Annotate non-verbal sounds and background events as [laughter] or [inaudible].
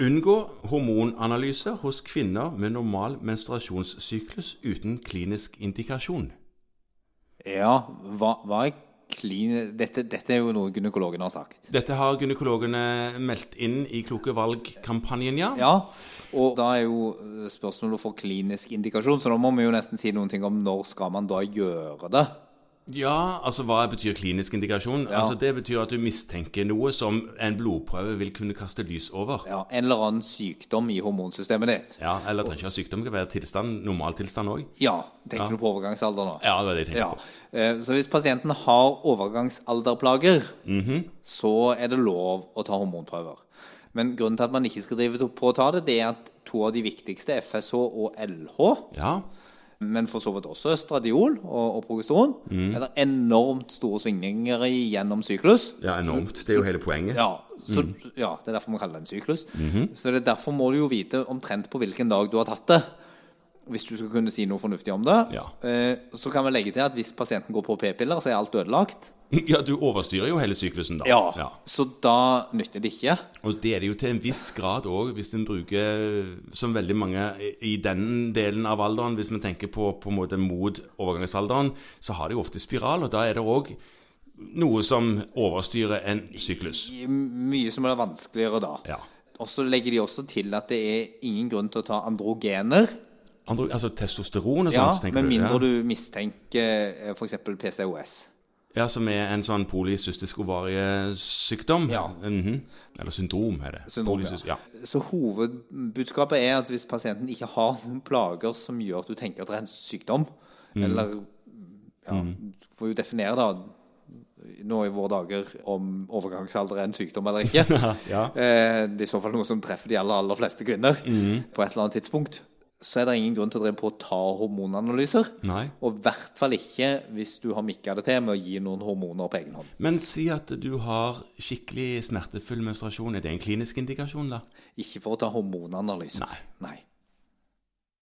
Unngå hormonanalyse hos kvinner med normal menstruasjonssyklus uten klinisk indikasjon. Ja, hva, hva er klin... Dette, dette er jo noe gynekologen har sagt. Dette har gynekologene meldt inn i Kloke valg-kampanjen, ja. Ja, og da er jo eh, spørsmålet for klinisk indikasjon, så da må vi jo nesten si noen ting om når skal man da gjøre det? Ja, altså hva betyr klinisk indikasjon? Altså Det betyr at du mistenker noe som en blodprøve vil kunne kaste lys over. Ja, Ja, En eller annen sykdom i hormonsystemet ditt? Eller trenger ikke ha sykdom, det kan være tilstand, normaltilstand òg. Ja, tenker du på overgangsalder nå? Ja, det er det jeg tenker Ja. eh, Så hvis pasienten har overgangsalderplager, Mhm. så er det lov å ta hormonprøver. Men grunnen til at man ikke skal drive to- på å ta det, det er at to av de viktigste, FSH og LH, på. Ja, men for så vidt også østradiol og, og progesteron, Mm. er det enormt store svingninger i gjennom syklus. ja enormt. Det er jo hele poenget. Ja, så, Mm. ja, det er derfor vi kaller det en syklus. Mhm. Så det er derfor må du jo vite omtrent på hvilken dag du har tatt det. Hvis du skal kunne si noe fornuftig om det. Ja. Eh, så kan vi legge til at hvis pasienten går på p-piller, så er alt ødelagt. [laughs] Ja, du overstyrer jo hele syklusen, da. Ja, Så da nytter det ikke. Og det er det jo til en viss grad òg, hvis en bruker eh, som veldig mange eh, i den delen av alderen Hvis vi tenker på, på en måte mot overgangsalderen, så har de jo ofte spiral, og da er det òg noe som overstyrer en syklus. I Mye som er vanskeligere da. Ja. Og så legger de også til at det er ingen grunn til å ta androgener. Andre, altså testosteron og Ja, sånt, tenker Med du? mindre ja. du mistenker eh, f.eks. PCOS. Ja, som er en sånn polycystisk ovariesykdom. Ja. Mhm. Eller syndrom, er det. Syndrom, Polycys- ja. Så hovedbudskapet er at hvis pasienten ikke har noen plager som gjør at du tenker at det er en sykdom, Mm. eller ja, du får jo definere da nå i våre dager om overgangsalder er en sykdom eller ikke. [laughs] Ja. Eh, Det er i så fall noe som treffer de aller, aller fleste kvinner Mm. på et eller annet tidspunkt. Så er det ingen grunn til å drive på å ta hormonanalyser. Nei. Og i hvert fall ikke hvis du har mikka det til med å gi noen hormoner på egen hånd. Men si at du har skikkelig smertefull menstruasjon. Er det en klinisk indikasjon, da? Ikke for å ta hormonanalyser. Nei. Nei.